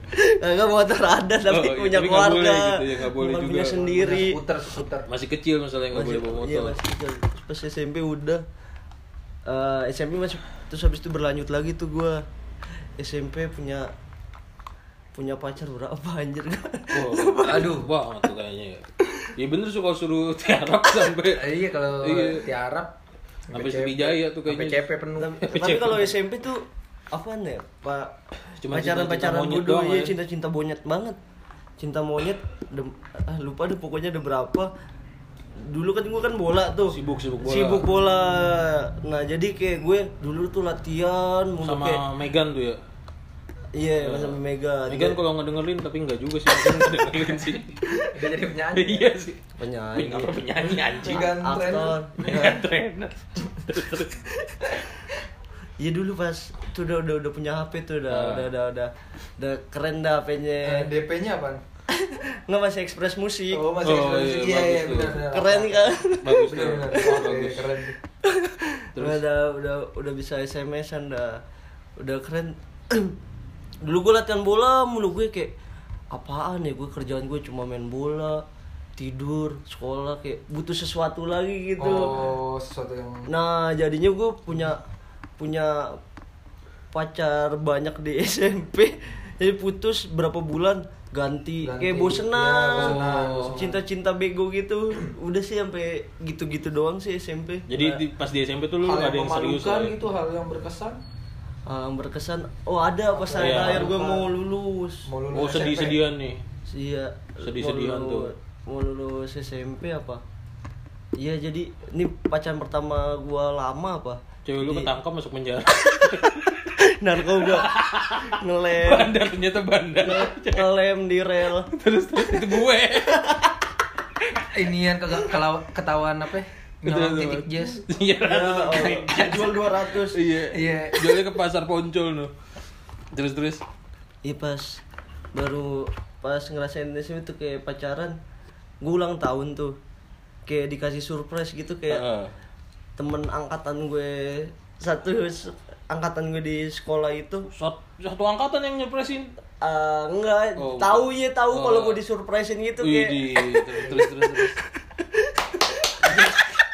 Enggak Nah, motor ada tapi Oh, iya, punya tapi nggak keluarga boleh gitu ya, nggak boleh bukan juga. punya sendiri Puter, puter. masih kecil masalah yang nggak boleh bawa Iya, motor masih kecil. pas SMP udah eh, SMP masih terus habis itu berlanjut lagi tuh gua SMP punya punya pacar berapa anjir Wah, aduh banget tuh kayaknya ya. Ya bener suka suruh tiarap sampai Eh, iya kalau Iya. tiarap sampai Sriwijaya tuh sampai kayaknya. CP penuh. tapi, tapi kalau SMP tuh apa nih pak kan. Cuma pacaran cinta-cinta pacaran monyet bodoh doang iya ya. cinta cinta monyet banget cinta monyet dem- ah, lupa deh pokoknya ada berapa dulu kan gue kan bola tuh Sibuk- sibuk bola. sibuk bola nah jadi kayak gue dulu tuh latihan mulu Sama kayak Megan tuh ya. iya sama Eh, Mega Megan kalau ngedengerin tapi enggak juga sih Megan ngedengerin sih. Udah jadi penyanyi. Iya sih. Nah, penyanyi Penyanyi apa penyanyi anjing. Megan aktor Trainor. Megan trainer. Iya dulu pas tuh udah udah, udah punya HP tuh Ah. udah, udah udah udah udah keren Eh, dah HP-nya. DP-nya apa? Nggak masih ekspres musik. Oh, masih Ah. Oh, ekspres. iya, bagus Iya, iya, tuh. benar, benar. keren kan? Bagus tuh. Benar, benar. Oh, Oke, Bagus. Iya, Keren. Terus? Udah udah udah bisa SMS-an dah. Udah keren. dulu gue latihan bola mulu gue kayak apaan ya gue kerjaan gue cuma main bola tidur sekolah kayak butuh sesuatu lagi gitu Oh, sesuatu yang Nah jadinya gue punya punya pacar banyak di SMP jadi putus berapa bulan ganti, Ganti. kayak Ya, bosenan bosenan, bosenan. cinta-cinta bego gitu udah sih sampai gitu-gitu doang sih SMP Jadi Nah. di- pas di SMP tuh lu ada hal yang yang serius memalukan lah ya? gitu, hal yang berkesan. Ah, berkesan oh ada pas Iya. saya akhir gue mau lulus Mau lulus Oh SMP. sedih-sedihan nih. Iya. Sedih-sedihan mau tuh. lulu- Mau lulus SMP apa? Iya jadi ini pacaran pertama gua lama apa? Cewek lu Iya. Jadi- ketangkap masuk penjara. narkoba Eh. ngelem Bandar ternyata bandar. Iya. ngelem di rel Terus terus itu gue. Inian kagak kelawa- ketahuan apa? ya? Nyolong Terus, titik terus. jazz. Iya. Ya, oh, jual 200 Iya. Iya. Jualnya ke pasar Poncol noh. Terus terus. iya pas baru pas ngerasain SMP tuh kayak pacaran gue ulang tahun tuh kayak dikasih surprise gitu kayak Heeh. temen angkatan gue satu s- angkatan gue di sekolah itu Sat- satu angkatan yang nyepresin eh, enggak Oh, tahu ya Oh. tahu kalau gue disurprisein gitu kayak Widih, iya, terus terus terus. terus.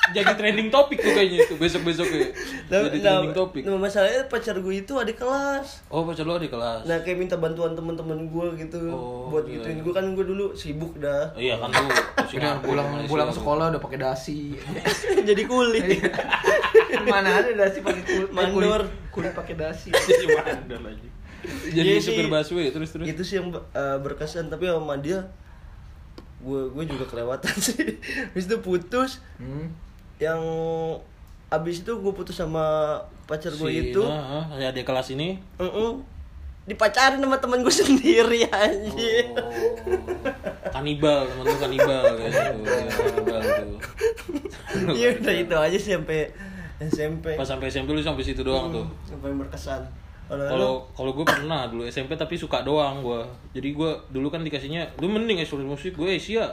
Jadi trending topik tuh kayaknya itu besok-besok ya. Nah, Jadi nah, trending topik. nah, masalahnya pacar gue itu ada kelas Oh, pacar lu ada di kelas. Nah kayak minta bantuan teman-teman gue gitu Oh, buat iya, gituin iya. gue kan gue dulu sibuk dah Oh, iya kan lu pusing Udah aku, pulang Malaysia pulang lu. sekolah udah pakai dasi. jadi kulit Iya. Mana ada dasi pakai eh, kulit? Mandor. Kulit pakai dasi. Jadi mandor lagi. Jadi Iya sih. supir busway terus terus. itu sih yang eh, berkesan tapi sama dia gue gue juga kelewatan sih habis itu putus Hmm. yang abis itu gue putus sama pacar gue Si- itu nah, ah, ya, di kelas ini. heeh, dipacarin sama teman gue sendiri anjir Oh. Kanibal, temen lu kanibal ya gitu. Iya, Kanibal tuh. iya udah itu aja sih sampai Oh. SMP Pas sampai SMP lu sampai situ Hmm. doang tuh. sampai yang berkesan Kalau lu- Kalau kalau gue pernah dulu SMP tapi suka doang gue. Jadi gue dulu kan dikasihnya, lu mending ekskul musik gue Asia.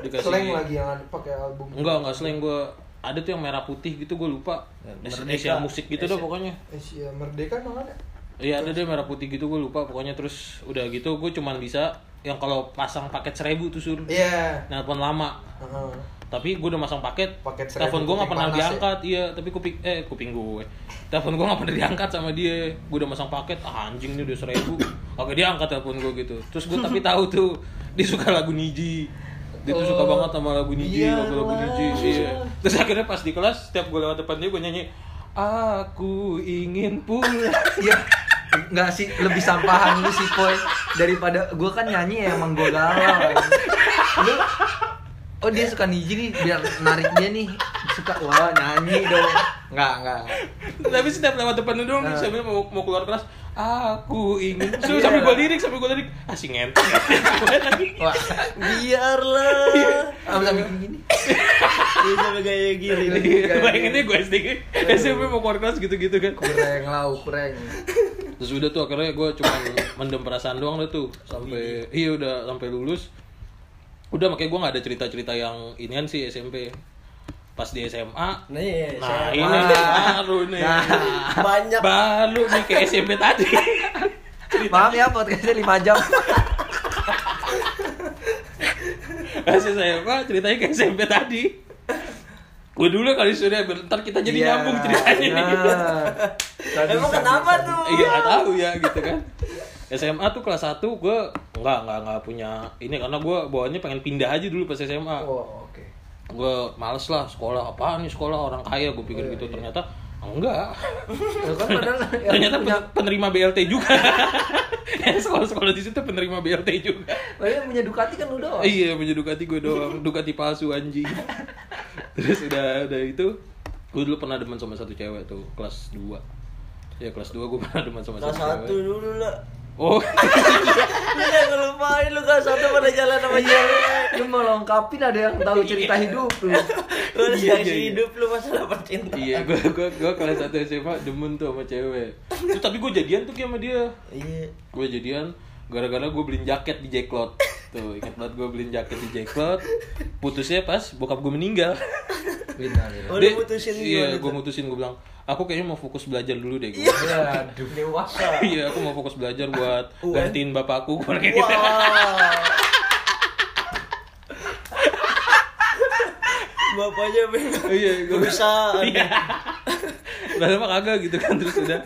Dikasih Slang lagi yang ada- pakai album. Enggak enggak slang gue. Ada tuh yang merah putih gitu gue lupa. Es- Asia musik gitu dah pokoknya. Asia Eh, Merdeka mana ada? Iya ada deh merah putih gitu gue lupa pokoknya terus udah gitu gue cuman bisa yang kalau pasang paket seribu tuh sur. Iya. Nelpon lama. Heeh. Tapi gue udah masang paket. Paket seribu telepon gue nggak kuping pernah panas ya? diangkat, iya. Tapi kuping eh kuping gue. Telepon gue nggak pernah diangkat sama dia. Gue udah masang paket, ah, anjing nih udah seribu. Oke dia angkat telepon gue gitu. Terus gue tapi tahu tuh dia suka lagu Niji. Dia tuh Oh. suka banget sama lagu Niji, lagu lagu Niji. Iya. Terus akhirnya pas di kelas, setiap gue lewat depan dia gue nyanyi. Aku ingin pulang. Iya. Enggak sih, lebih sampahan lu sih, Poy. Daripada gua kan nyanyi ya, emang gua galau. Lu Oh dia suka niji nih, biar narik dia nih Suka, wah nyanyi dong Enggak, enggak tapi setiap lewat depan lu doang dia sambil mau, mau keluar kelas. Aku ingin. Terus Nah. Iya. sampai gue lirik, sampai gue lirik. Asing ngentot. Wah, biarlah abis sambil gini Iya sampai kayak gini. Iya, Bayanginnya gue SD SMP mau keluar kelas gitu-gitu kan Kureng lau, kureng Terus udah tuh akhirnya gue cuma mendem perasaan doang deh tuh Sampai, iya udah sampai lulus Udah makanya gue gak ada cerita-cerita yang inian sih SMP Pas di SMA Eh, Nih, Nah iya, saya- ini baru nih Nah. banyak Baru nih ke SMP tadi Maaf ya, podcastnya 5 jam Pas SMA ceritanya ke SMP tadi Gue dulu kali sudah bentar kita jadi Iya, nyambung ceritanya nih. nah. Tadi, Emang tadi, kenapa tadi. tuh? Iya, nggak tahu ya gitu kan. SMA tuh kelas 1 gue nggak nggak nggak punya ini karena gue bawaannya pengen pindah aja dulu pas SMA. Oh, oke. Gue males lah sekolah apaan nih sekolah orang kaya gue pikir gitu ternyata enggak. Ya kan padahal yang ternyata punya, pen- penerima BLT juga. Ya, sekolah-sekolah di situ penerima BLT juga. padahal yang punya Ducati kan udah. Oh, Iya punya Ducati gue doang Ducati palsu anjing Terus udah udah itu Gue dulu pernah demen sama satu cewek tuh Kelas 2 Ya kelas 2 gue pernah demen sama Kelas satu satu cewek dulu lah. Oh Lu jangan Iya, lupain lu kelas satu pada jalan sama cewek. Lu mau lengkapin ada yang tahu cerita hidup lu. Lu udah Iya, kasih iya, iya. hidup lu masalah percintaan. Iya gue gue gue kelas 1 SMA demen tuh sama cewek Terus tapi gue jadian tuh Ki, sama dia Iya. gue jadian gara-gara gue beliin jaket di Jacklot tuh ingat banget gue beliin jaket di Jacklot putusnya pas bokap gue meninggal Benar. Oh, Dia- lu mutusin iya gimana gue tuh? mutusin gue bilang aku kayaknya mau fokus belajar dulu deh gue Iya. Iya. Aduh. Dewasa. iya aku mau fokus belajar buat UN. gantiin bapakku Gua kayak gitu. Wah. Bapaknya bingung. iya Gak bisa. Iya. padahal mah kagak gitu kan terus udah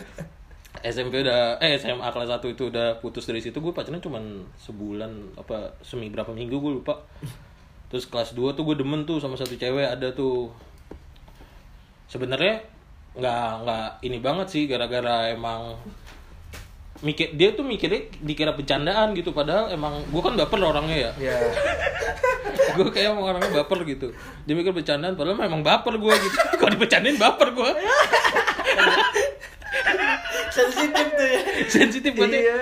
SMP udah eh SMA kelas 1 itu udah putus dari situ gue pacaran cuman sebulan apa semi berapa minggu gue lupa terus kelas 2 tuh gue demen tuh sama satu cewek ada tuh sebenarnya nggak nggak ini banget sih gara-gara emang mikir dia tuh mikirnya dikira bercandaan gitu padahal emang gue kan baper orangnya ya Ya. gue kayak emang orangnya baper gitu dia mikir bercandaan padahal memang baper gue gitu kalau dibecandain baper gue Sensitif tuh ya. sensitif banget ya. Iya.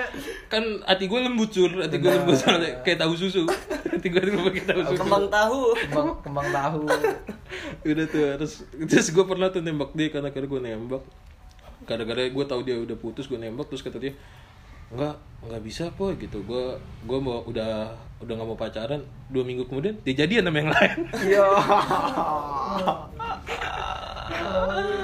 kan hati gue lembut sur hati gue lembut soalnya kayak tahu susu hati gue lembut kayak tahu susu Kembang tahu. Kembang, kembang tahu. udah tuh terus terus gue pernah tuh nembak dia karena karena gue nembak gara-gara gue tahu dia udah putus gue nembak terus kata dia nggak nggak bisa po gitu gue gue mau udah udah nggak mau pacaran dua minggu kemudian dia jadian sama yang lain Ya.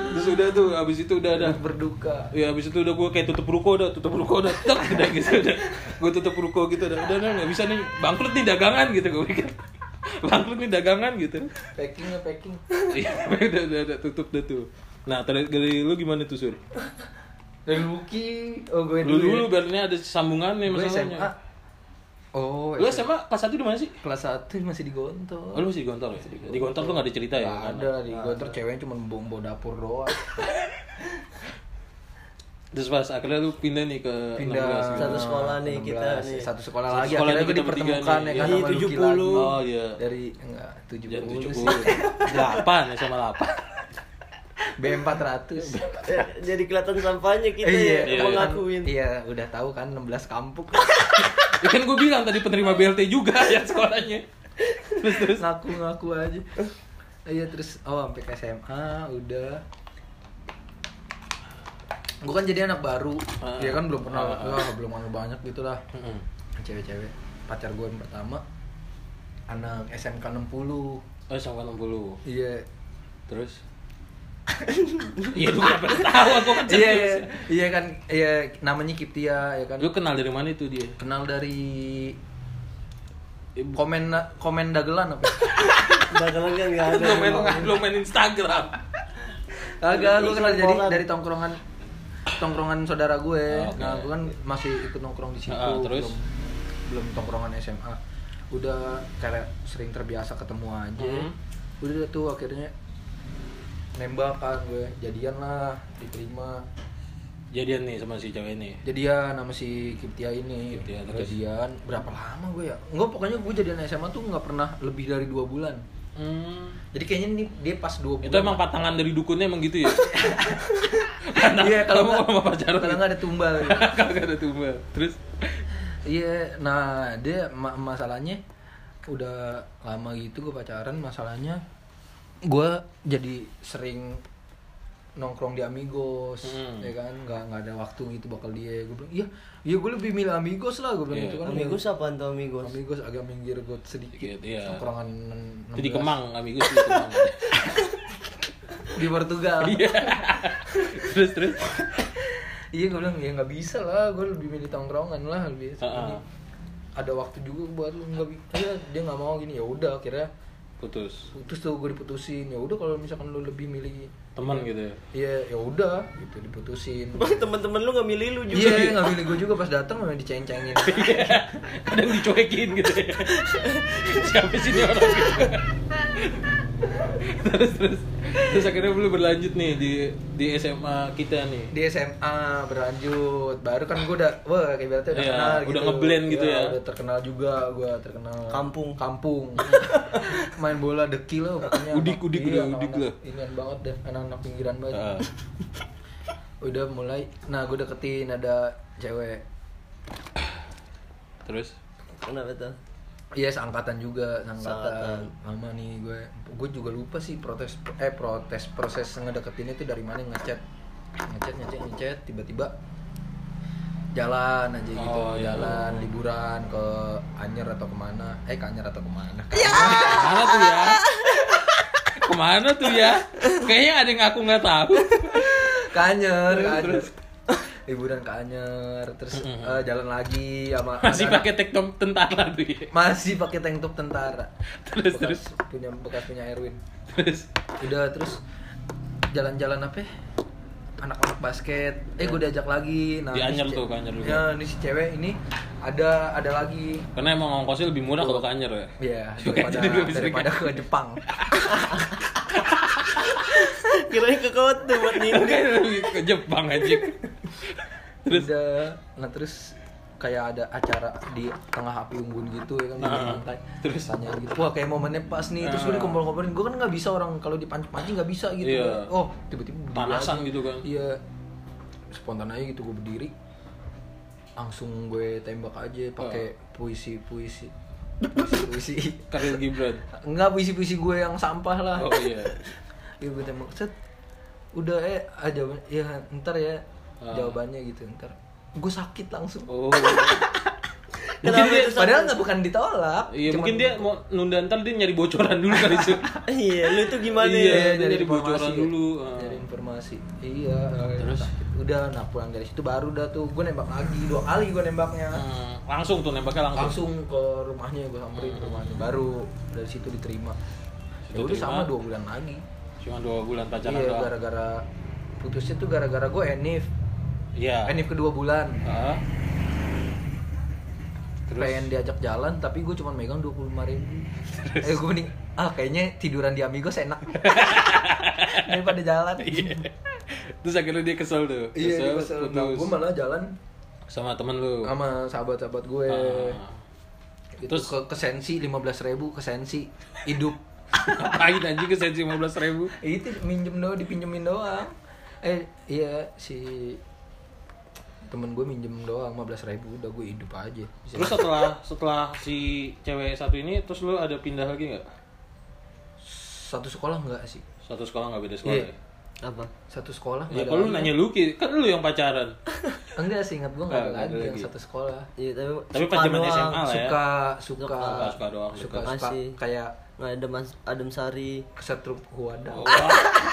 terus udah tuh abis itu udah ada Berduka. Ya abis itu udah gue kayak tutup ruko udah, tutup ruko udah, tek, udah gitu udah. Gue tutup ruko gitu udah, udah nih nggak bisa nih, bangkrut nih dagangan gitu gue pikir. Bangkrut nih dagangan gitu. Packingnya packing. Iya, udah, udah, udah, tutup dah tuh. Nah, dari, dari lu gimana tuh, Sur? Dari Lucky. Oh, gue Lu dulu. ya. dulu biar ini ada sambungannya Gue SMA. masalahnya. Oh, Lu SMA kelas 1 di mana sih? kelas 1 masih digontor. Oh, lu masih di Gontor ya? Di Gontor tuh gak ada cerita ya? Nggak ada di gontor ceweknya cuma bombo dapur doang. Terus pas akhirnya lu pindah nih ke Pindah ya, 16 gitu. Satu sekolah nih kita nih. Satu sekolah Satu lagi sekolah akhirnya nih gue kita bertiga dipertemukan nih. ya kan Iya, sama Lucky 70. lagi. Oh iya. Dari enggak 70, Ya, 70. sih. 8 SMA 8. B400. Eh, Jadi kelihatan sampahnya kita iya, ya. Iya. Mengakuin. Iya, udah tahu kan 16 kampung. Ya kan gue bilang tadi penerima BLT juga ya sekolahnya. Terus terus. Ngaku-ngaku aja. Iya, terus oh sampai ke SMA udah gue kan jadi anak baru, Ah. dia kan belum pernah, Ah, ah. wah, belum anu banyak gitu lah. cewek-cewek pacar gue yang pertama anak SMK 60 Oh, sama 60. iya Terus. Iya, lu kenapa tahu aku kan iya serius. iya. iya kan iya namanya Kiptia ya kan Lu kenal dari mana itu dia? kenal dari komen komen dagelan apa Dagelan kan nggak ada. Lu main lu main Instagram. agak lu kenal dari dari tongkrongan tongkrongan saudara gue Oh, oke. nah gue kan masih ikut nongkrong di situ Ah, terus? belum belum tongkrongan SMA udah kayak sering terbiasa ketemu aja Hmm. udah tuh akhirnya nembak kan gue jadian lah diterima Jadian nih sama si cewek ini. jadian sama si Kiptia ini Kiptia, terus? jadian berapa lama gue ya enggak pokoknya gue jadian SMA tuh nggak pernah lebih dari dua bulan Hmm. jadi kayaknya ini dia pas dua bulan Itu emang patangan dari dukunnya emang gitu ya? iya kalau mau sama nggak pacar. kalau nggak ada tumbal gitu. Kagak ada tumbal. Terus Iya, nah dia ma- masalahnya udah lama gitu gue pacaran masalahnya gue jadi sering nongkrong di Amigos Hmm. ya kan nggak nggak ada waktu gitu bakal dia gue bilang iya iya gue lebih milih Amigos lah gue bilang Iya. gitu kan Amigos apaan tuh amigos? Amigos agak minggir gue sedikit Sedikit, iya. nongkrongan itu di 16. Kemang, amigos di Kemang. di Portugal Iya. Terus terus. iya gue bilang ya nggak bisa lah gue lebih milih tongkrongan lah lebih Ah, ah. ada waktu juga buat lu nggak bi- iya, dia nggak mau gini ya udah akhirnya putus putus tuh gue diputusin ya udah kalau misalkan lu lebih milih teman gitu ya ya ya udah gitu diputusin Bang, temen-temen lu nggak milih lu juga. gitu. iya nggak milih gue juga pas datang memang diceng-cengin kadang dicuekin gitu ya siapa sih ini orang gitu. terus terus terus akhirnya belum berlanjut nih di di SMA kita nih di SMA berlanjut baru kan gue udah wah kayak berarti udah Iya, kenal udah gitu ngeblend gitu Iya, ya. udah terkenal juga gue terkenal Kampung. kampung main bola dekil loh pokoknya Udik, udik, Iya, udah Ah. udik anak-anak lah. inian banget deh anak-anak pinggiran banget Heeh. udah mulai nah gue deketin ada cewek terus Kenapa tuh? Iya, seangkatan juga, seangkatan. Seangkatan. Lama nih gue. Gue juga lupa sih protes eh protes proses ngedeketinnya itu dari mana ngechat. Ngechat, ngechat, ngechat, tiba-tiba jalan aja gitu, Oh, iya. jalan liburan ke Anyer atau kemana eh ke Anyer atau kemana Iya. kemana tuh ya kemana tuh ya kayaknya ada yang aku nggak tahu ke Anyer, ke Anyer. liburan ke Anyer terus eh, jalan lagi sama masih ada- pakai tektok tentara tuh ya masih pakai tank top tentara Terus, terus. Bekas punya bekas punya Erwin terus udah terus jalan-jalan apa ya? anak-anak basket eh gue diajak Iya. lagi Nah, Di Anyer ini si tuh, cewek- ke Anyer juga. ya ini si cewek ini ada ada lagi karena emang ongkosnya lebih murah kalau ke Anyer ya ya Juga daripada jadi dua bisa daripada ke Jepang Kirain ke kota buat Oke, nyindir. ke Jepang aja terus nah terus kayak ada acara di tengah api unggun gitu ya kan di Heeh. pantai Nah, Terus? Nah. tanya gitu wah kayak momennya pas nih terus gue Heeh. dikumpul-kumpulin gue kan nggak bisa orang kalau dipancing-pancing nggak bisa gitu Iya. oh tiba-tiba berdiri Panasan aja. gitu kan. iya spontan aja gitu gue berdiri langsung gue tembak aja Oh. pakai puisi puisi puisi puisi Karil Gibran enggak puisi puisi gue yang sampah lah oh iya Iya gue tembak set udah eh ah, jawaban ya ntar ya Ah. jawabannya gitu ntar gue sakit langsung oh Kenapa mungkin dia itu sakit? padahal nggak bukan ditolak iya cuman- mungkin dia mau nunda ntar dia nyari bocoran dulu kali itu Iya, lu tuh gimana Iya, ya? dia jadi eh, informasi bocoran ya. dulu, ah. Dari informasi. Iya. Terus? sakit. udah nah pulang dari situ baru dah tuh gue nembak lagi dua kali gue nembaknya. Hmm, langsung tuh nembaknya langsung, Langsung ke rumahnya gue samperin ke rumahnya. Baru dari situ diterima. Situ Ya udah terima. sama dua bulan lagi. cuma dua bulan pacaran Iya doang gara-gara putusnya tuh gara-gara gue enif. iya Enif kedua bulan. Ah. Terus? pengen diajak jalan tapi gue cuma megang dua puluh ribu eh gue nih ah kayaknya tiduran di Amigos enak daripada jalan Iya. terus akhirnya dia kesel tuh Iya, kesel. Nah, putus. gue malah jalan sama temen lu sama sahabat-sahabat gue. Ah. Itu Terus- ke, ke sensi 15 ribu, ke sensi hidup. ngapain aja ke sensi 15 ribu Eh, itu minjem doang, dipinjemin doang. Eh, iya si temen gue minjem doang 15 ribu, udah gue hidup aja. Bisa- terus setelah setelah si cewek satu ini terus lu ada pindah lagi nggak Satu sekolah enggak sih? satu sekolah nggak beda sekolah Iya. ya? Apa? Satu sekolah Ya nggak ada kalau lu lagi. nanya lu Ki, kan lu yang pacaran. Enggak sih, ingat gue Nggak, enggak ada nggak ada lagi yang lagi. satu sekolah. Iya, tapi Tapi pas suka zaman doang. SMA lah ya. Suka, suka, Suka, suka doang, suka, suka. suka, Masih. kayak Nggak ada Mas Adem Sari. kesetrum wadah. Oh, wah.